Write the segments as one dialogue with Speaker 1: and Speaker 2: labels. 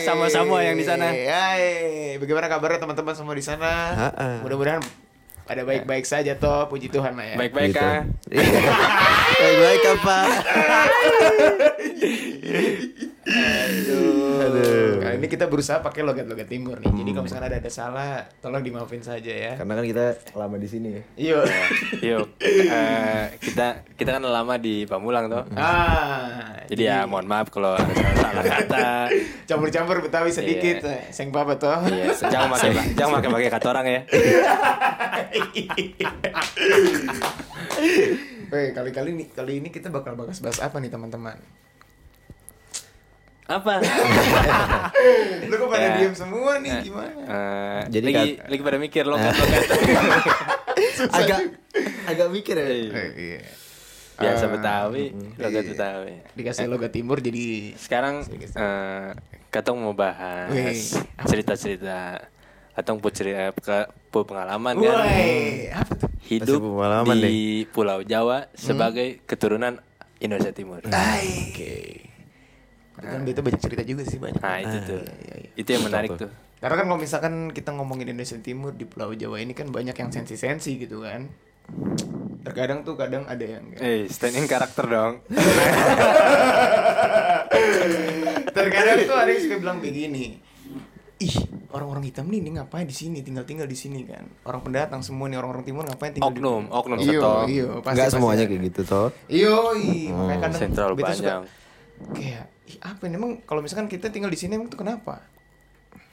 Speaker 1: Samoa yang di sana.
Speaker 2: Hai, bagaimana kabar teman-teman semua di sana?
Speaker 3: Ha-ha.
Speaker 2: Mudah-mudahan pada baik-baik saja toh, puji Tuhan lah ya.
Speaker 1: Baik-baik
Speaker 3: Gitu.
Speaker 1: ah.
Speaker 3: Baik-baik apa?
Speaker 2: Aduh. Kali ini kita berusaha pakai logat-logat timur nih.
Speaker 1: Hmm.
Speaker 2: Jadi kalau misalkan ada ada salah, tolong dimaafin saja ya. Iya.
Speaker 3: Karena kan kita lama di sini ya.
Speaker 2: Yuk.
Speaker 1: Iya. Yuk. eh, kita kita kan lama di Pamulang tuh.
Speaker 2: ah,
Speaker 1: Jadi ya mohon maaf kalau ada salah kata.
Speaker 2: campur-campur Betawi sedikit. eh, Seng papa toh.
Speaker 1: Iya, jangan pakai jangan pakai pakai kata orang ya.
Speaker 2: Weh, kali-kali ini kali ini kita bakal bahas-bahas apa nih teman-teman?
Speaker 1: Apa?
Speaker 2: Lu kok pada
Speaker 1: Ya.
Speaker 2: diem semua nih gimana?
Speaker 1: Eh,
Speaker 3: Jadi
Speaker 1: lagi lagi pada mikir lo kan
Speaker 3: Agak agak mikir ya.
Speaker 2: Eh, iya.
Speaker 1: biasa
Speaker 2: Eh,
Speaker 1: Betawi,
Speaker 2: iya.
Speaker 1: logat Betawi.
Speaker 2: Dikasih logat timur jadi
Speaker 1: Sekarang eh katong mau bahas
Speaker 2: Wih.
Speaker 1: cerita-cerita katong pu cerita ke pu pengalaman kan.
Speaker 2: Woi, apa tuh?
Speaker 1: Hidup
Speaker 3: Masih pengalaman
Speaker 1: di Pulau
Speaker 2: Hmm.
Speaker 1: Jawa sebagai keturunan Indonesia Timur.
Speaker 2: Nah. Ay. Hmm, Oke. Kan itu banyak cerita juga sih banyak.
Speaker 1: Nah, itu tuh.
Speaker 2: iya,
Speaker 1: Itu yang menarik tuh.
Speaker 2: Karena kan kalau misalkan kita ngomongin Indonesia Timur di Pulau Jawa ini kan banyak yang sensi-sensi gitu kan. Terkadang tuh kadang ada yang
Speaker 1: Eh, standing karakter dong.
Speaker 2: Terkadang tuh ada yang suka bilang begini. Ih, orang-orang hitam nih, nih ngapain di sini? Tinggal-tinggal di sini kan. Orang pendatang semua nih, orang-orang timur ngapain tinggal
Speaker 1: Oknum,
Speaker 2: di
Speaker 1: oknum
Speaker 2: Iya,
Speaker 1: setong.
Speaker 2: iya, pasti
Speaker 3: Enggak
Speaker 2: pasti
Speaker 3: semuanya
Speaker 2: ada.
Speaker 3: kayak gitu toh.
Speaker 2: Iya, iya, makanya kadang
Speaker 1: Sentral
Speaker 2: beta suka
Speaker 1: banyak.
Speaker 2: Kayak, ih apa ini emang kalau misalkan kita tinggal di sini emang tuh kenapa?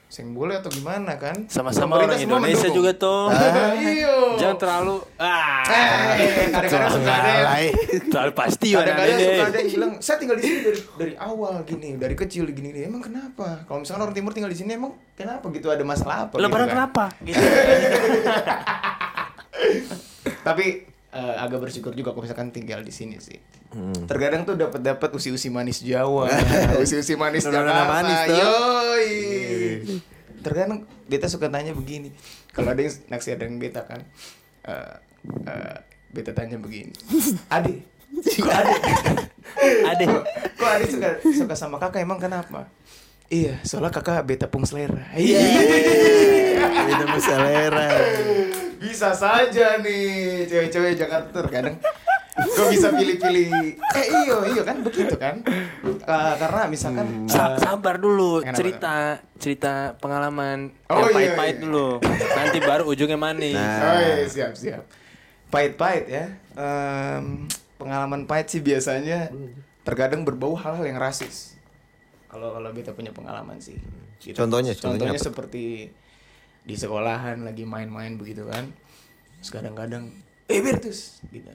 Speaker 2: Seng boleh atau gimana kan?
Speaker 1: Sama-sama
Speaker 2: Pemerintah
Speaker 1: orang
Speaker 2: semua
Speaker 1: Indonesia
Speaker 2: mendukung.
Speaker 1: juga tuh.
Speaker 2: Iya.
Speaker 1: Jangan terlalu ah,
Speaker 2: Eh, kadang-kadang suka ada yang-
Speaker 1: terlalu pasti orang
Speaker 2: kadang-kadang
Speaker 1: ini.
Speaker 2: suka ada yang bilang saya tinggal di sini dari dari awal gini dari kecil gini gini emang kenapa kalau misalkan orang timur tinggal di sini emang kenapa gitu ada masalah apa
Speaker 1: Lo
Speaker 2: gitu
Speaker 1: pernah
Speaker 2: kan?
Speaker 1: kenapa? Gitu.
Speaker 2: tapi eh, agak bersyukur juga kalau misalkan tinggal di sini sih terkadang tuh dapat dapat usi-usi manis Jawa usi-usi manis
Speaker 3: Nona-nona
Speaker 2: Jakarta
Speaker 3: manis tuh.
Speaker 2: yoi terkadang beta suka tanya begini kalau ada yang naksir dengan beta kan eh, eh, beta tanya begini ade kok ade
Speaker 1: Ade.
Speaker 2: Kok Adi suka suka sama kakak emang kenapa? Iya, soalnya kakak beta pung selera. Iya.
Speaker 3: Beda sama selera.
Speaker 2: Bisa saja nih cewek-cewek Jakarta terkadang Gue bisa pilih-pilih Eh iyo, iyo kan begitu kan Eh, Karena misalkan
Speaker 1: Sa-
Speaker 2: eh,
Speaker 1: sabar dulu
Speaker 2: Kenapa?
Speaker 1: cerita cerita pengalaman
Speaker 2: Oh,
Speaker 1: yang
Speaker 2: iya,
Speaker 1: pahit-pahit
Speaker 2: iya.
Speaker 1: dulu. Nanti baru ujungnya manis.
Speaker 3: Nah.
Speaker 2: Oh iya, siap siap. Pahit-pahit ya. Em, pengalaman pahit sih biasanya terkadang berbau hal-hal yang rasis. Kalau kalau beta punya pengalaman sih. Gitu.
Speaker 3: Contohnya,
Speaker 2: contohnya,
Speaker 3: contohnya apa?
Speaker 2: seperti di sekolahan lagi main-main begitu kan. Terus kadang-kadang eh Bertus gitu.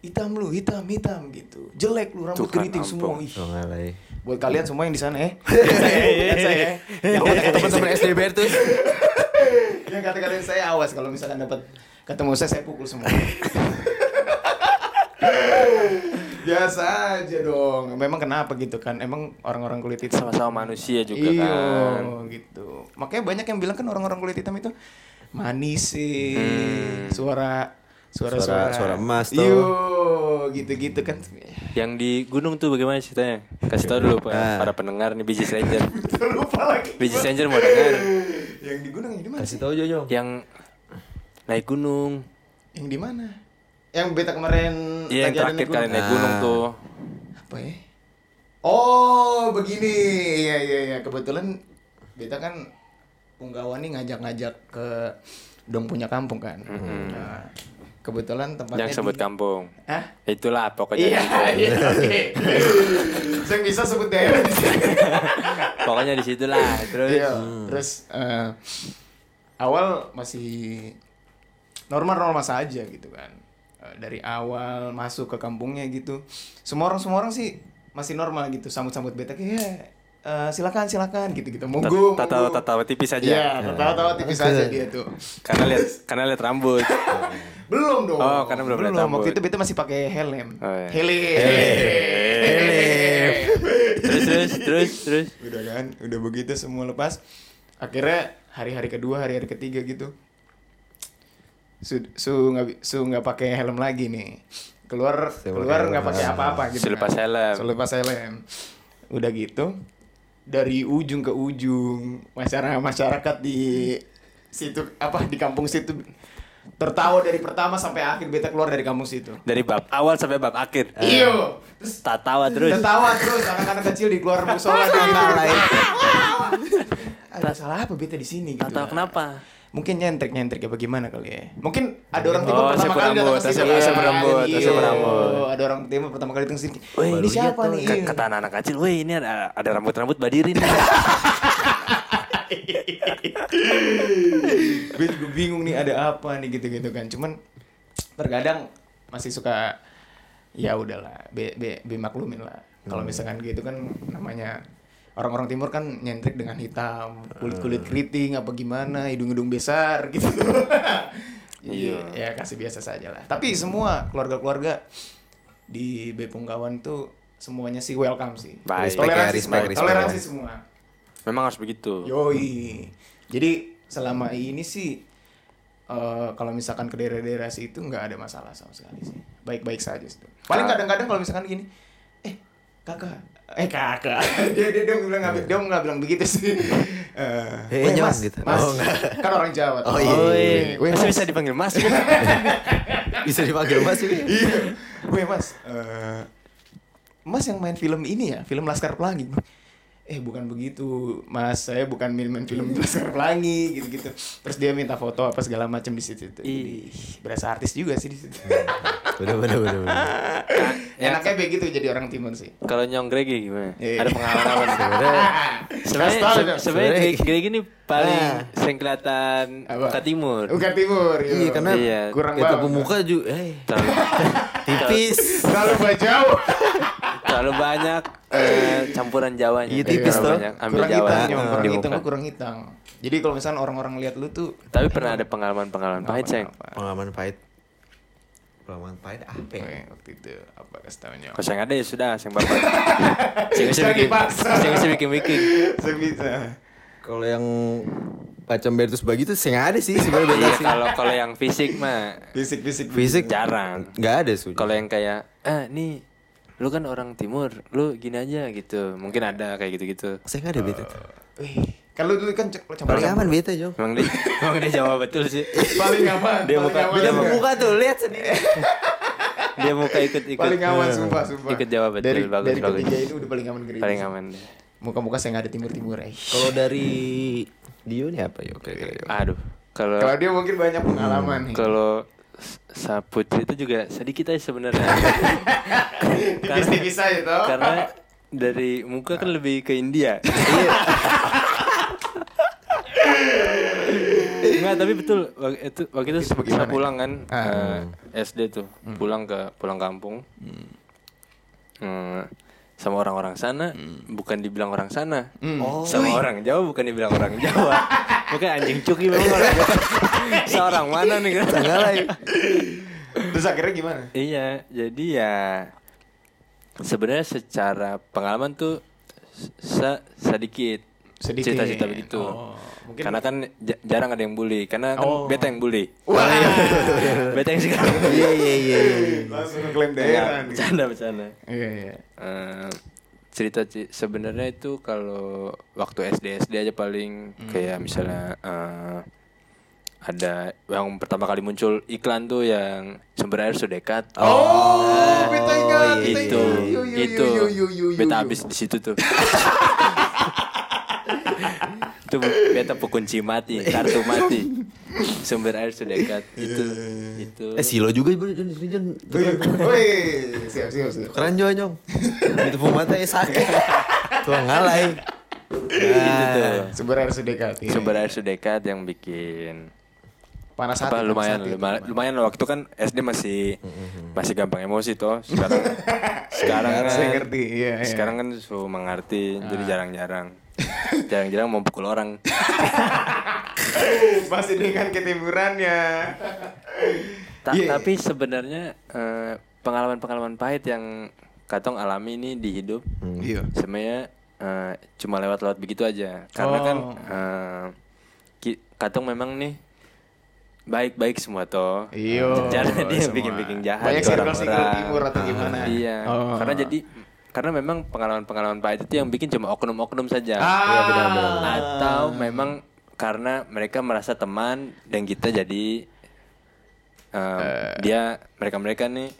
Speaker 2: Hitam lu, hitam, hitam gitu. Jelek lu rambut
Speaker 1: Tuh kan,
Speaker 2: keriting semua.
Speaker 1: ampun.
Speaker 2: Ih.
Speaker 3: Oh ngalai.
Speaker 2: Buat kalian semua yang di sana eh. Lihat saya, lihat saya, eh. Yang
Speaker 3: teman-teman SD Bertus.
Speaker 2: yang kata-katain saya awas kalau misalkan dapat ketemu saya saya pukul semua. Biasa aja dong. Memang kenapa gitu kan? Emang orang-orang kulit hitam
Speaker 1: Sama-sama manusia juga
Speaker 2: Iyo,
Speaker 1: kan.
Speaker 2: gitu. Makanya banyak yang bilang kan orang-orang kulit hitam itu manis sih. Suara suara
Speaker 3: Suara-
Speaker 2: suara
Speaker 3: suara emas tuh.
Speaker 2: Iyo, gitu-gitu kan.
Speaker 1: Yang di gunung tuh bagaimana ceritanya? Kasih tau dulu Pak, ya,
Speaker 3: Ah.
Speaker 1: para pendengar nih Biji Stranger.
Speaker 2: Lupa lagi.
Speaker 1: Biji Stranger mau dengar
Speaker 2: Yang di gunung yang di mana? sih?
Speaker 3: Kasih tahu Jojo.
Speaker 1: yang naik gunung.
Speaker 2: Yang di mana? Yang beta kemarin
Speaker 1: Iya, yang
Speaker 2: lagi ada naik
Speaker 1: terakhir
Speaker 2: gunung.
Speaker 1: kali naik gunung
Speaker 3: Ah.
Speaker 1: tuh.
Speaker 2: apa ya? Oh, begini. Iya, iya, iya. Kebetulan beta kan punggawa nih ngajak-ngajak ke dong punya kampung kan. Nah, kebetulan tempatnya
Speaker 1: Mm-hmm. Yang sebut
Speaker 2: di-
Speaker 1: kampung.
Speaker 2: Hah?
Speaker 1: Itulah pokoknya.
Speaker 2: Iya, iya. oke. Saya bisa sebut daerah di sini.
Speaker 1: Pokoknya di situlah. Terus
Speaker 2: Iya.
Speaker 1: Hmm.
Speaker 2: Terus eh, awal masih normal-normal saja gitu kan. Eh, dari awal masuk ke kampungnya gitu. Semua orang semua orang sih masih normal gitu. Sambut-sambut beta kayak "Ya, eh, silakan silakan gitu-gitu. Monggo.
Speaker 1: tata
Speaker 2: monggo."
Speaker 1: tata tipis aja. Hmm.
Speaker 2: Iya, tertawa-tawa tipis aja gitu. dia tuh.
Speaker 1: Karena lihat karena lihat rambut.
Speaker 2: Belum dong.
Speaker 1: Oh, karena belum lihat rambut.
Speaker 2: Waktu itu beta masih pakai helm.
Speaker 1: Oh, iya.
Speaker 2: Helm.
Speaker 3: Helm.
Speaker 1: terus terus terus terus.
Speaker 2: udah kan udah begitu semua lepas akhirnya hari-hari kedua hari-hari ketiga gitu su su nggak bi- su nggak pakai helm lagi nih keluar
Speaker 3: Saya pakai
Speaker 2: keluar nggak
Speaker 3: helm.
Speaker 2: pakai apa-apa gitu
Speaker 1: Selepas helm.
Speaker 2: selepas helm udah gitu dari ujung ke ujung masyarakat masyarakat di situ apa di kampung situ tertawa dari pertama sampai akhir beta keluar dari kampung situ.
Speaker 1: Dari bab awal sampai bab akhir.
Speaker 2: Iyo, terus
Speaker 1: Tatawa terus.
Speaker 2: tertawa terus anak-anak kecil di keluar musola dan Ada salah apa beta di sini gitu.
Speaker 1: Tatawa kenapa?
Speaker 2: Mungkin nyentrik-nyentrik ya bagaimana kali ya. Mungkin ada orang tipe
Speaker 1: Oh,
Speaker 2: pertama
Speaker 1: asap
Speaker 2: kali datang
Speaker 1: rambut,
Speaker 2: ke sini.
Speaker 1: asap-
Speaker 2: Iya,
Speaker 1: asap rambut,
Speaker 2: iya.
Speaker 1: asap rambut.
Speaker 2: Ada orang tipe pertama kali datang ke sini.
Speaker 1: Wih,
Speaker 2: ini siapa nih?
Speaker 1: Ke-
Speaker 2: Iya.
Speaker 1: Kata anak-anak kecil, wih ini ada, ada rambut-rambut badirin.
Speaker 2: gue juga bingung nih ada apa nih gitu-gitu kan cuman terkadang masih suka ya udahlah be, be, be maklumin lah kalau
Speaker 3: Hmm.
Speaker 2: misalkan gitu kan namanya orang-orang timur kan nyentrik dengan hitam kulit kulit
Speaker 3: Hmm.
Speaker 2: keriting apa gimana hidung hidung besar gitu iya ya kasih biasa saja lah tapi semua keluarga keluarga di Bepungkawan tuh semuanya sih welcome sih
Speaker 1: Baik.
Speaker 2: toleransi
Speaker 3: Respect
Speaker 2: semua
Speaker 3: ya, respect, respect.
Speaker 2: toleransi semua
Speaker 1: Memang harus begitu.
Speaker 2: Yoi. Jadi selama ini sih eh, kalau misalkan ke daerah-daerah situ nggak ada masalah sama sekali sih. Baik-baik saja sih. Paling kadang-kadang kalau misalkan gini, eh kakak, eh kakak, dia dia dia bilang nggak dia nggak bilang begitu sih. Eh,
Speaker 3: Eh,
Speaker 2: "Weh,
Speaker 3: nyong
Speaker 2: mas,
Speaker 3: gitu."
Speaker 2: Mas,
Speaker 3: Oh, nggak.
Speaker 2: kan orang Jawa. tuh.
Speaker 3: Oh, iya,
Speaker 1: Oh,
Speaker 3: iya,
Speaker 1: iya.
Speaker 2: Weh,
Speaker 1: Masih
Speaker 2: mas,
Speaker 1: bisa dipanggil mas?
Speaker 3: Bisa dipanggil mas ini.
Speaker 2: Iya. Weh mas, eh, mas yang main film ini ya, film Laskar Pelangi. Eh bukan begitu, mas saya bukan main, main film
Speaker 1: Iya.
Speaker 2: Laskar Pelangi gitu-gitu. Terus dia minta foto apa segala macam di situ. Jadi berasa artis juga sih di situ.
Speaker 1: Iya.
Speaker 3: Bener bener bener. bener.
Speaker 2: Enaknya begitu jadi orang timur sih.
Speaker 1: Kalau nyong Gregi gimana?
Speaker 2: Iya. ya?
Speaker 1: Ada pengalaman apa? nih?
Speaker 2: Kasih tahu
Speaker 1: Sebenarnya
Speaker 2: dong.
Speaker 1: sebenarnya
Speaker 3: Sebenarnya-
Speaker 1: Gregi ini paling
Speaker 3: Ah.
Speaker 1: sering kelihatan
Speaker 2: Apa? Oh,
Speaker 1: ke timur.
Speaker 2: Bukan timur. yo.
Speaker 3: Iya karena
Speaker 1: Iya.
Speaker 2: kurang
Speaker 3: itu
Speaker 2: banget.
Speaker 3: pemuka juga. Eh.
Speaker 1: Terlalu,
Speaker 3: Tipis.
Speaker 2: Terlalu jauh.
Speaker 1: terlalu banyak eh, campuran Jawanya.
Speaker 3: Iya, tipis
Speaker 1: Terlalu
Speaker 3: tuh.
Speaker 1: banyak Ambil
Speaker 2: Kurang
Speaker 1: Jawa
Speaker 2: hitam, Nyong. kurang
Speaker 1: di
Speaker 2: hitam,
Speaker 1: muka.
Speaker 2: lu kurang hitam. Jadi kalau misalkan orang-orang lihat lu tuh
Speaker 1: Tapi pernah ada pengalaman-pengalaman pahit, Ceng.
Speaker 2: apa-apa.
Speaker 3: Pengalaman pahit. Pengalaman pahit apa? ya?
Speaker 2: Weh, waktu itu apa kasih tau Nyong.
Speaker 1: Kalau yang ada ya sudah, yang bapak. Yang bisa
Speaker 2: Jangan
Speaker 1: bikin,
Speaker 2: dipaksa.
Speaker 1: yang bisa bikin-bikin.
Speaker 2: Sebisa.
Speaker 3: Kalau yang macam Bertus bagi itu sih nggak ada sih sebenarnya beta
Speaker 1: Iya,
Speaker 3: sih.
Speaker 1: kalau kalau yang fisik mah
Speaker 2: Fisik-fisik.
Speaker 3: Fisik
Speaker 1: jarang.
Speaker 3: nggak ada
Speaker 2: Gitu.
Speaker 3: sih.
Speaker 1: Kalau yang kayak, ah nih, lu kan orang timur, lu gini aja gitu. Mungkin ada kayak gitu-gitu.
Speaker 3: saya nggak ada beta.
Speaker 1: Eh.
Speaker 3: tuh.
Speaker 2: Wih, kalau dulu kan cek- campur
Speaker 3: Paling aman beta Jong.
Speaker 1: Emang dia, emang dia jawab betul sih.
Speaker 2: Paling aman.
Speaker 1: Dia
Speaker 2: paling
Speaker 1: buka-
Speaker 2: aman.
Speaker 1: dia buka-
Speaker 3: Pemuka tuh lihat
Speaker 1: Eh.
Speaker 3: sendiri.
Speaker 1: Dia muka ikut-ikut.
Speaker 2: Paling aman sumpah sumpah.
Speaker 1: Ikut jawab betul,
Speaker 2: Dari,
Speaker 1: bagus,
Speaker 2: dari gitu.
Speaker 1: bagus.
Speaker 2: ketiga ini udah paling aman gerimis.
Speaker 1: Paling aman deh.
Speaker 2: Muka-muka saya nggak ada timur timur eh.
Speaker 3: Kalau dari Dio nih apa yuk kira-kira Yo?
Speaker 1: Aduh, kalau
Speaker 2: Kalau dia mungkin banyak pengalaman nih.
Speaker 1: kalau Saputri itu juga sedikit aja sebenarnya.
Speaker 2: Tipis-tipis aja toh.
Speaker 1: Karena dari muka kan lebih ke India. Enggak, tapi betul waktu itu waktu itu
Speaker 2: Itu
Speaker 1: saya
Speaker 2: bagaimana?
Speaker 1: pulang kan
Speaker 2: Ah.
Speaker 1: eh, SD tuh, pulang ke pulang kampung. Hmm, sama orang-orang sana bukan dibilang orang sana.
Speaker 2: Hmm.
Speaker 1: hmm.
Speaker 3: Oh.
Speaker 1: Sama orang Jawa bukan dibilang orang Jawa. Bukan anjing cuki memang orang Jawa. Seorang mana nih kan?
Speaker 2: Terus akhirnya gimana?
Speaker 1: Iya, jadi ya sebenarnya secara pengalaman tuh se- sedikit
Speaker 2: Sedikit.
Speaker 1: cerita-cerita begitu.
Speaker 2: Oh, mungkin-
Speaker 1: Karena kan ja- jarang ada yang bully, karena kan
Speaker 2: Oh.
Speaker 1: beta yang bully.
Speaker 2: Wah,
Speaker 1: beta yang sekarang.
Speaker 3: Iya iya iya.
Speaker 2: langsung ngeklaim
Speaker 1: Enggak,
Speaker 2: daerah nih.
Speaker 1: bercanda bercanda.
Speaker 2: Iya, iya.
Speaker 1: Eh, cerita ci- sebenarnya itu kalau waktu SD SD aja paling
Speaker 2: Hmm.
Speaker 1: kayak misalnya eh, ada yang pertama kali muncul iklan tuh yang sumber air Sudekat.
Speaker 2: Oh, beta ingat,
Speaker 3: iya,
Speaker 2: beta
Speaker 1: itu
Speaker 2: ingat. Yo, yo, yo,
Speaker 1: itu
Speaker 2: yo, yo, yo, yo, yo.
Speaker 1: beta habis di situ tuh itu beta pekunci mati kartu mati sumber air sudah dekat
Speaker 2: Iya,
Speaker 1: itu itu
Speaker 3: Eh Silo juga Jon Jon Jon.
Speaker 2: Wih, wih, siap, siap, siap.
Speaker 3: Keren Jon Jong. Itu pemuka ya sakit. Tuh ngalai. Nah.
Speaker 1: Itu Gitu tuh.
Speaker 2: Iya. Sumber air sedekat. iya.
Speaker 1: sumber air sudah dekat yang bikin
Speaker 2: panas hati.
Speaker 1: apa
Speaker 2: panas
Speaker 1: lumayan
Speaker 2: hati.
Speaker 1: lumayan lumayan lah. waktu kan SD masih masih gampang emosi toh sekarang sekarang
Speaker 2: Saya
Speaker 1: kan-
Speaker 2: ngerti, iya, iya.
Speaker 1: sekarang kan suruh mengerti jadi jarang-jarang jarang-jarang mau pukul orang
Speaker 2: Masih dengan kan ketimurannya.
Speaker 1: Ta-
Speaker 2: Iya.
Speaker 1: Tapi sebenarnya eh, pengalaman-pengalaman pahit yang Katong alami ini di hidup
Speaker 2: Iya.
Speaker 1: sebenarnya eh, cuma lewat-lewat begitu aja. Karena kan
Speaker 2: Oh.
Speaker 1: eh, ki- Katong memang nih baik-baik semua toh.
Speaker 2: Iya.
Speaker 1: Jangan dia
Speaker 2: semua.
Speaker 1: bikin-bikin jahat
Speaker 2: Banyak
Speaker 1: ke
Speaker 2: circle circle
Speaker 1: orang-orang.
Speaker 2: timur atau gimana?
Speaker 1: Iya.
Speaker 2: Oh.
Speaker 1: Karena jadi karena memang pengalaman-pengalaman pahit itu yang bikin cuma oknum-oknum saja
Speaker 2: Ah.
Speaker 1: atau memang karena mereka merasa teman dan kita jadi um,
Speaker 2: Eh.
Speaker 1: dia mereka-mereka nih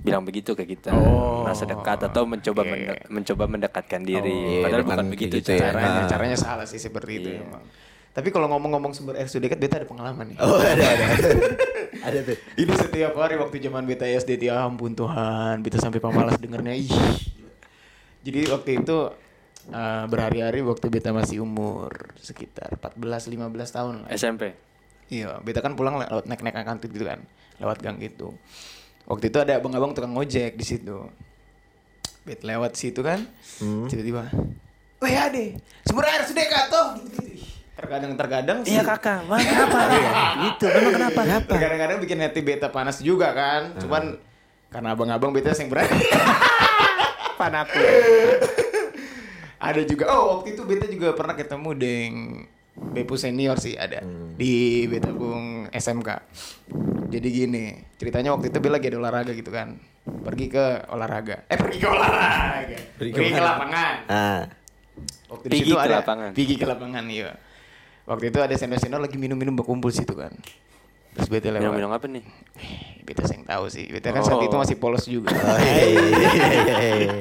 Speaker 1: bilang begitu ke kita merasa dekat atau mencoba
Speaker 2: Oh. oke. Oh,
Speaker 1: mende- mencoba mendekatkan diri
Speaker 3: Iya,
Speaker 1: padahal
Speaker 3: memang
Speaker 1: bukan begitu
Speaker 3: gitu ya.
Speaker 1: caranya
Speaker 2: caranya
Speaker 3: Ah.
Speaker 2: caranya salah sih seperti itu
Speaker 1: Iya.
Speaker 2: emang tapi kalau ngomong-ngomong sumber air sudekat beta ada pengalaman nih
Speaker 3: Oh ada ada. ada tuh.
Speaker 2: ini setiap hari waktu zaman beta SD ya ampun Tuhan beta sampai pamalas dengernya ih jadi waktu itu eh, berhari-hari waktu beta masih umur sekitar 14-15 tahun lah
Speaker 1: SMP
Speaker 2: Iya, beta kan pulang lewat naik-naik angkot gitu kan, lewat gang gitu. Waktu itu ada abang-abang tukang ojek di situ. Bet lewat situ kan,
Speaker 3: Hmm.
Speaker 2: tiba-tiba, weh ade, sumber air sudah kato. Terkadang-terkadang
Speaker 3: Iya,
Speaker 2: sih.
Speaker 1: Iya, kakak bang kenapa gitu memang kenapa
Speaker 2: Terkadang-kadang bikin hati beta panas juga kan, cuman karena abang-abang beta yang berani.
Speaker 1: panaku
Speaker 2: ada juga, oh waktu itu beta juga pernah ketemu deng Bepu senior sih ada di Beta Bung SMK. Jadi gini, ceritanya waktu itu Bella lagi ada olahraga gitu kan. Pergi ke olahraga. Eh pergi ke olahraga. Pergi ke, lapangan.
Speaker 3: Ah.
Speaker 2: Waktu
Speaker 1: Pergi ke lapangan.
Speaker 2: Pergi ke lapangan iya. Waktu itu ada senior-senior lagi minum-minum berkumpul situ kan. Terus beta lewat.
Speaker 1: minum-minum apa nih
Speaker 2: Eh, Beta seng tahu sih. Beta kan saat
Speaker 1: Oh.
Speaker 2: itu masih polos juga.
Speaker 3: Oh, iya, iya, iya, iya.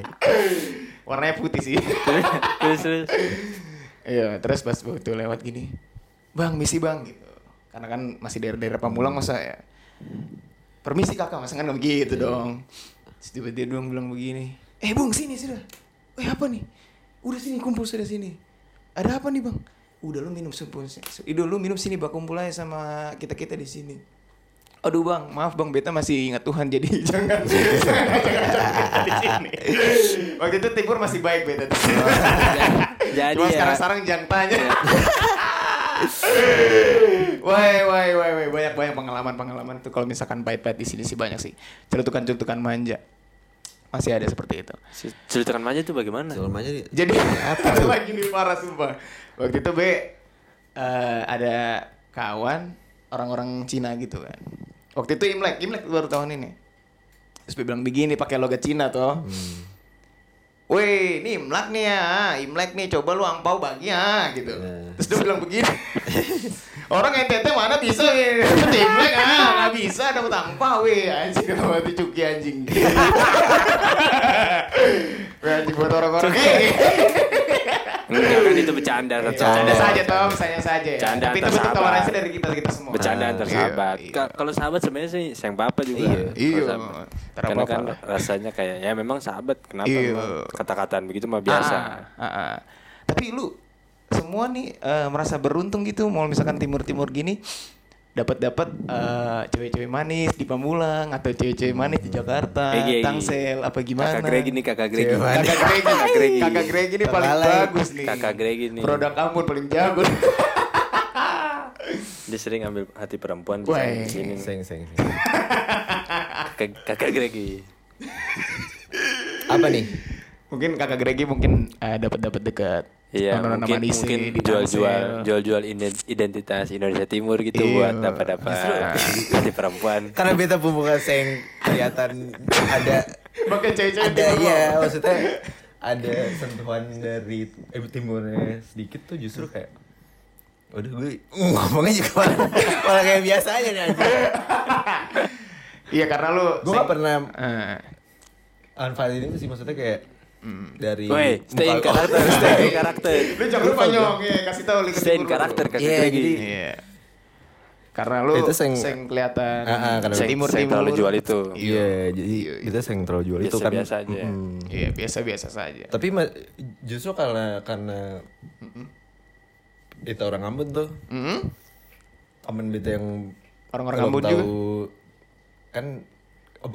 Speaker 2: Warnanya putih sih.
Speaker 1: terus terus, terus.
Speaker 2: Iya, terus pas waktu lewat gini, bang misi bang gitu. Karena kan masih daerah daerah Pamulang masa ya. Permisi kakak, masa kan nggak begitu
Speaker 1: Iya.
Speaker 2: dong. Terus tiba-tiba doang bilang begini, eh bung sini sudah. Eh apa nih? Udah sini kumpul sudah sini. Ada apa nih bang? Udah lu minum sempun, Ido lu minum sini bak kumpul aja sama kita kita di sini. Aduh bang, maaf bang, beta masih ingat Tuhan jadi jangan jangan ajak-ajak beta di sini. Waktu itu Timur masih baik beta. di sini.
Speaker 1: jadi
Speaker 2: Cuma
Speaker 1: ya
Speaker 2: sekarang sekarang jangan tanya. Iya. Wai, wai, wai, wai. Banyak banyak pengalaman pengalaman itu kalau misalkan pahit-pahit di sini sih banyak sih. Celutukan-celutukan manja masih ada seperti itu.
Speaker 1: ceritakan aja tuh bagaimana
Speaker 3: Selamanya di-
Speaker 2: Jadi apa lagi nih parah sumpah. Waktu itu B eh, ada kawan orang-orang Cina gitu kan. Waktu itu Imlek, Imlek baru tahun ini. Terus dia bilang begini pakai logat Cina toh.
Speaker 3: Hmm.
Speaker 2: Weh, ini Imlek nih ya, Imlek nih coba lu angpau bagi ya gitu.
Speaker 3: Nah.
Speaker 2: Terus dia bilang begini. Orang NTT mana bisa weh, Itu Imlek ah, nggak bisa dapat angpau weh anjing kalau mati cuki anjing. Weh anjing buat orang-orang. Eh,
Speaker 1: enggak kan itu bercanda
Speaker 2: Bercanda
Speaker 1: Tom.
Speaker 2: saja Tom, saya saja. ya.
Speaker 1: Bercanda
Speaker 2: Tapi itu
Speaker 1: antar
Speaker 2: bentuk
Speaker 1: sahabat.
Speaker 2: toleransi dari kita kita semua.
Speaker 1: bercanda
Speaker 2: Ah,
Speaker 1: antar
Speaker 2: iya,
Speaker 1: sahabat.
Speaker 2: iya.
Speaker 1: Ka- Kalau sahabat sebenarnya sih sayang papa juga.
Speaker 2: Iya,
Speaker 1: Kalau
Speaker 2: iya.
Speaker 1: sahabat.
Speaker 2: Ntar
Speaker 1: Karena
Speaker 2: apa-apa Ah,
Speaker 1: kan
Speaker 2: lah.
Speaker 1: rasanya kayak ya memang sahabat kenapa
Speaker 2: Iya.
Speaker 1: emang kata-kataan begitu mah
Speaker 2: Ah,
Speaker 1: biasa.
Speaker 2: ah, ah. Tapi lu semua nih eh, merasa beruntung gitu mau misalkan timur-timur gini dapat dapat eh, cewek-cewek manis di Pamulang atau cewek-cewek manis di Jakarta,
Speaker 1: Egi, Egi.
Speaker 2: Tangsel apa gimana?
Speaker 1: Eh, iya, Kakak Gregi nih kakak Gregi.
Speaker 3: Cewek.
Speaker 2: Kakak Gregi, kakak Gregi, kakak Gregi ini paling
Speaker 3: Terbalik.
Speaker 2: bagus nih.
Speaker 1: Kakak Gregi nih.
Speaker 2: Produk Ambon paling jago.
Speaker 1: Dia sering ambil hati perempuan di
Speaker 2: Weh.
Speaker 1: sini.
Speaker 3: Seng seng. seng.
Speaker 1: Kakak, kakak Gregi.
Speaker 3: Apa nih?
Speaker 2: mungkin kakak Gregi mungkin eh, dapat dapat dekat.
Speaker 1: Iya,
Speaker 2: Nona-nona
Speaker 1: mungkin
Speaker 2: Manisi
Speaker 1: mungkin
Speaker 2: di
Speaker 1: jual-jual
Speaker 2: Tangsel.
Speaker 1: jual-jual iden- identitas Indonesia Timur gitu
Speaker 2: Iya.
Speaker 1: buat dapat-dapat hati perempuan.
Speaker 3: Karena beta pemuka seng kelihatan ada
Speaker 2: Pakai cewek-cewek
Speaker 3: ada
Speaker 2: timur.
Speaker 3: ya maksudnya ada sentuhan dari eh, timurnya sedikit tuh justru kayak Waduh gue uh, ngomongnya juga malah, malah kayak biasa aja nih anjing.
Speaker 2: Iya karena lu
Speaker 3: Gue gak pernah
Speaker 2: Eh,
Speaker 3: unfile ini sih maksudnya kayak dari
Speaker 1: Woi, stay in
Speaker 3: muka-
Speaker 1: karakter, stay in karakter.
Speaker 2: Lu jangan lupa nyong ya, kasih tahu link
Speaker 1: Stay in karakter kakak
Speaker 3: Iya,
Speaker 1: Gregi.
Speaker 3: jadi
Speaker 2: Iya. Karena lu
Speaker 3: Itu
Speaker 2: seng,
Speaker 3: seng-
Speaker 2: kelihatan
Speaker 3: Ah, ah, karena
Speaker 1: Saya,
Speaker 2: timur
Speaker 1: saya
Speaker 2: timur.
Speaker 1: terlalu jual itu.
Speaker 3: Iya, jadi kita sering terlalu jual itu kan.
Speaker 1: Biasa-biasa aja.
Speaker 3: Mm-mm.
Speaker 2: Iya biasa biasa saja.
Speaker 3: Tapi ma- justru karena karena itu orang Ambon tuh,
Speaker 2: Mm-mm.
Speaker 3: temen beta yang
Speaker 2: Orang-orang
Speaker 3: belum
Speaker 2: Ambon
Speaker 3: tahu,
Speaker 2: juga.
Speaker 3: kan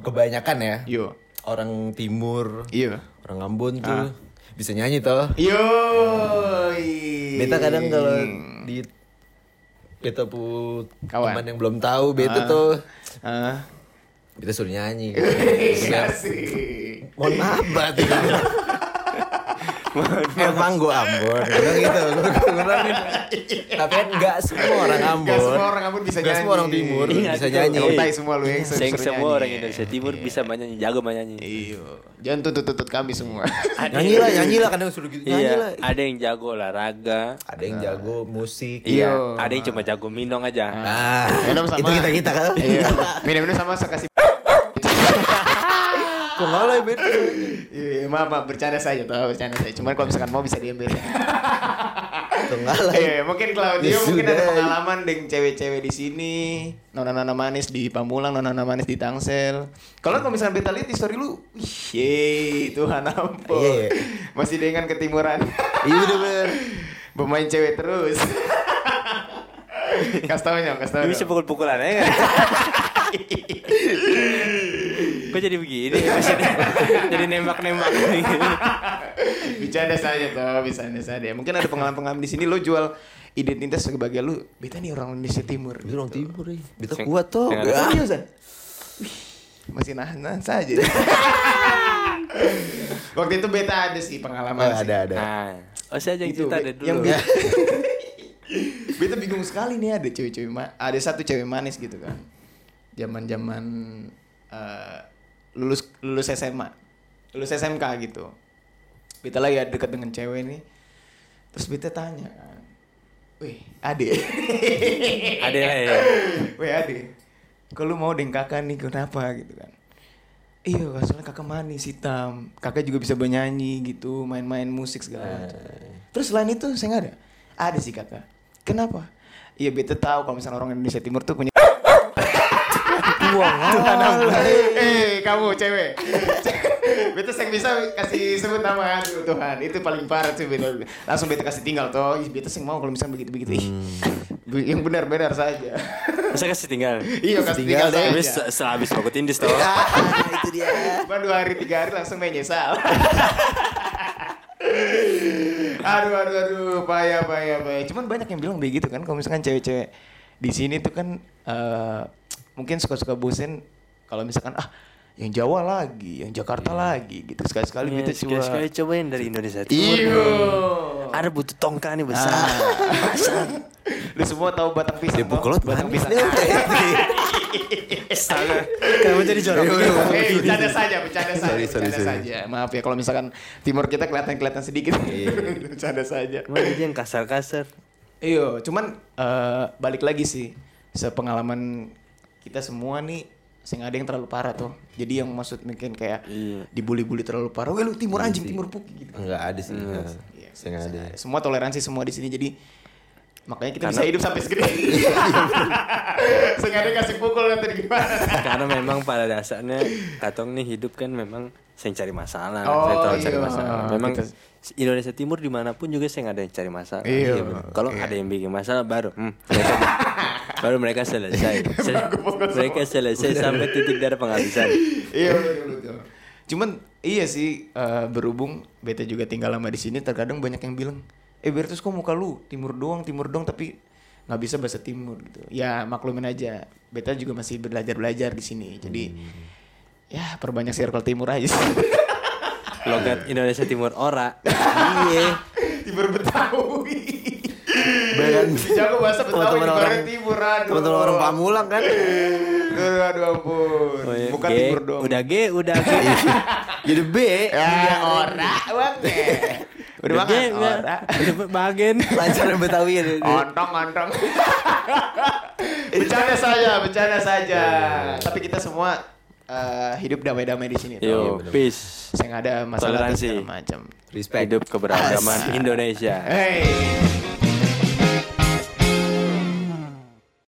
Speaker 3: kebanyakan ya
Speaker 2: Yo,
Speaker 3: orang timur,
Speaker 2: yo,
Speaker 3: orang Ambon
Speaker 2: Ah.
Speaker 3: tuh bisa nyanyi toh.
Speaker 2: yo.
Speaker 3: Beta kadang kalau di beta pu
Speaker 2: Hmm. Kawan.
Speaker 3: teman yang belum tahu beta tuh
Speaker 2: Ah.
Speaker 3: beta suruh nyanyi.
Speaker 2: Iya sih.
Speaker 3: Mohon maaf banget. Emang gue Ambon. Gue bilang gitu. Gua- gua bilang gitu. Tapi kan nggak semua orang Ambon.
Speaker 2: Gak semua orang Ambon bisa
Speaker 3: Nggak
Speaker 2: nyanyi.
Speaker 3: semua orang Timur
Speaker 1: Iya,
Speaker 3: bisa
Speaker 1: betul.
Speaker 3: nyanyi.
Speaker 1: Iya.
Speaker 2: Tai semua lu yang
Speaker 1: Seng
Speaker 2: suruh
Speaker 1: semua
Speaker 2: nyanyi.
Speaker 1: orang Indonesia Timur
Speaker 3: Iya.
Speaker 1: bisa menyanyi, jago menyanyi.
Speaker 2: Iya. Jangan tuntut-tuntut kami semua.
Speaker 3: Nyanyi lah, nyanyi lah. Kadang suruh gitu. Nyanyi lah.
Speaker 1: Iya, ada yang jago olahraga.
Speaker 3: Ada yang jago musik.
Speaker 1: Iya, ada yang cuma jago minong aja.
Speaker 3: Ah,
Speaker 2: Minum sama.
Speaker 3: itu kita kita kan.
Speaker 2: Iya. Minum-minum sama saya kasih.
Speaker 3: Kok ngalah ya, Ben?
Speaker 2: Iya, maaf, maaf, bercanda saja tuh, bercanda saja. Cuman kalau misalkan mau bisa diambil.
Speaker 3: Kok ngalah ya?
Speaker 2: Iya, mungkin Claudio
Speaker 3: Ya
Speaker 2: mungkin ada
Speaker 3: sudah.
Speaker 2: pengalaman dengan cewek-cewek di sini. Nona-nona manis di Pamulang, nona-nona manis di Tangsel. Kalau kalau misalnya beta lihat di story lu, wih, yeay, Tuhan ampun.
Speaker 3: Iya, iya.
Speaker 2: Masih dengan ketimuran.
Speaker 3: Iya bener bener.
Speaker 2: Bermain cewek terus. kasih tau nyong, kasih tau
Speaker 1: Lu
Speaker 2: nyong.
Speaker 1: bisa pukul-pukulan aja kan? Kok jadi begini? Maksudnya, jadi nembak-nembak gitu.
Speaker 2: Bercanda saja tuh, bercanda saja. Mungkin ada pengalaman-pengalaman di sini lo jual identitas sebagai lu, beta nih orang Indonesia Timur.
Speaker 3: Itu orang timur ya. Beta
Speaker 1: Sing-
Speaker 3: kuat toh.
Speaker 1: dengan-
Speaker 3: Ah.
Speaker 2: Seriusan? Wih, Masih nahan-nahan saja. Waktu itu beta ada sih pengalaman
Speaker 3: Ah,
Speaker 2: sih.
Speaker 3: ada ada.
Speaker 1: Nah, oh saya aja yang
Speaker 2: Itu,
Speaker 1: cerita
Speaker 2: Be-
Speaker 1: deh dulu.
Speaker 2: yang bi- beta bingung sekali nih ada cewek-cewek ma- ada satu cewek manis gitu kan. Zaman-zaman eh, lulus lulus SMA. Lulus SMK gitu. Beta lagi ada dekat dengan cewek nih. Terus beta tanya kan. Wih, ade.
Speaker 1: ada lah ya.
Speaker 2: Weh ade, kalau mau deng kakak nih kenapa gitu kan? Iya, soalnya kakak manis hitam, kakak juga bisa bernyanyi gitu, main-main musik segala macam. Terus selain itu saya nggak ada, ada sih kakak. Kenapa? Iya beta tahu kalau misalnya orang Indonesia Timur tuh punya.
Speaker 3: Buang
Speaker 2: Eh, kamu cewek. beta saya bisa kasih sebut nama aduh Tuhan, itu paling parah sih beta. Langsung beta kasih tinggal toh. Ih, beta saya mau kalau misalnya begitu-begitu. Ih, Yang benar-benar saja.
Speaker 1: Masa kasih tinggal?
Speaker 2: iya,
Speaker 1: Iya.
Speaker 2: kasih tinggal,
Speaker 3: Tinggal deh.
Speaker 2: saja.
Speaker 1: Habis setelah habis bakut indis tau.
Speaker 3: Itu dia.
Speaker 2: Cuma dua hari tiga hari langsung menyesal. aduh aduh aduh payah payah payah. Cuman banyak yang bilang begitu kan kalau misalkan cewek-cewek di sini tuh kan eh, mungkin suka-suka bosen kalau misalkan ah yang Jawa lagi, yang
Speaker 3: Iya.
Speaker 2: Jakarta lagi gitu sekali-sekali
Speaker 1: Ya,
Speaker 2: gitu Iya. coba.
Speaker 1: Sekali-sekali coba yang dari Indonesia Timur.
Speaker 2: Iyo.
Speaker 3: Iya.
Speaker 1: Ada butuh tongkang nih besar.
Speaker 2: Lu semua tahu batang pisang.
Speaker 3: Dia
Speaker 2: toh?
Speaker 3: pukul
Speaker 2: batang
Speaker 3: manis
Speaker 2: pisang.
Speaker 3: nih.
Speaker 1: Astaga. Kamu jadi jorok.
Speaker 3: Iya, iya, iya.
Speaker 2: Eh, bercanda saja, bercanda saja,
Speaker 3: Sorry, sorry,
Speaker 2: bercanda
Speaker 3: sorry.
Speaker 2: saja. Maaf ya kalau misalkan timur kita kelihatan-kelihatan sedikit.
Speaker 3: Iya,
Speaker 2: bercanda saja.
Speaker 1: Cuma dia yang kasar-kasar.
Speaker 2: Iya, cuman eh, balik lagi sih sepengalaman kita semua nih sing ada yang terlalu parah tuh. Jadi yang maksud mungkin kayak
Speaker 1: Iya.
Speaker 2: dibully-bully terlalu parah. Weh lu timur anjing, timur puki gitu.
Speaker 3: Enggak ada sih. Enggak
Speaker 2: Iya,
Speaker 3: Enggak Iya ada.
Speaker 2: Semua toleransi semua di sini jadi makanya kita
Speaker 1: Karena-
Speaker 2: bisa hidup sampai segede. Sengaja kasih pukul nanti gimana?
Speaker 1: Karena memang pada dasarnya Katong nih hidup kan memang sering cari masalah.
Speaker 2: Oh,
Speaker 1: saya tahu cari
Speaker 2: iya.
Speaker 1: masalah. Memang
Speaker 2: Kita-
Speaker 1: Indonesia Timur dimanapun juga saya nggak ada yang cari masalah.
Speaker 2: Iya.
Speaker 1: bener. Kalau ada yang bikin masalah baru, hmm, mereka- baru mereka selesai.
Speaker 2: Iya,
Speaker 1: Se- mereka selesai sampai titik darah penghabisan.
Speaker 2: iya betul betul. Cuman iya sih eh, berhubung beta juga tinggal lama di sini terkadang banyak yang bilang eh Bertus kok muka lu timur doang timur doang tapi nggak bisa bahasa timur gitu. Ya maklumin aja. Beta juga masih belajar belajar di sini. Jadi ya perbanyak circle timur aja sih.
Speaker 1: Logat Indonesia Timur ora.
Speaker 3: Iya.
Speaker 2: timur Betawi.
Speaker 3: Bayangin.
Speaker 2: Jago bahasa Betawi
Speaker 3: Teman-teman
Speaker 2: Barat
Speaker 3: orang-
Speaker 2: timur aduh.
Speaker 3: Teman-teman orang Pamulang kan.
Speaker 2: Aduh, Eh, aduh ampun.
Speaker 1: Oh, iya.
Speaker 2: Bukan
Speaker 1: G,
Speaker 2: timur doang. Iya.
Speaker 1: Udah G, udah G. Iya.
Speaker 3: Jadi B.
Speaker 2: Ya, ora banget. Udah
Speaker 1: G,
Speaker 2: makan
Speaker 1: udah.
Speaker 2: ora.
Speaker 1: Udah bagen.
Speaker 3: Lancar Betawi ya.
Speaker 2: Ontong, ontong. bercanda saja, bercanda saja. Tapi kita semua eh, hidup damai-damai di sini.
Speaker 1: Yo,
Speaker 2: tuh.
Speaker 1: peace.
Speaker 2: Saya nggak ada masalah
Speaker 1: Iya. Toleransi.
Speaker 2: segala macam.
Speaker 3: Respect.
Speaker 1: Hidup keberagaman Indonesia.
Speaker 2: Hey.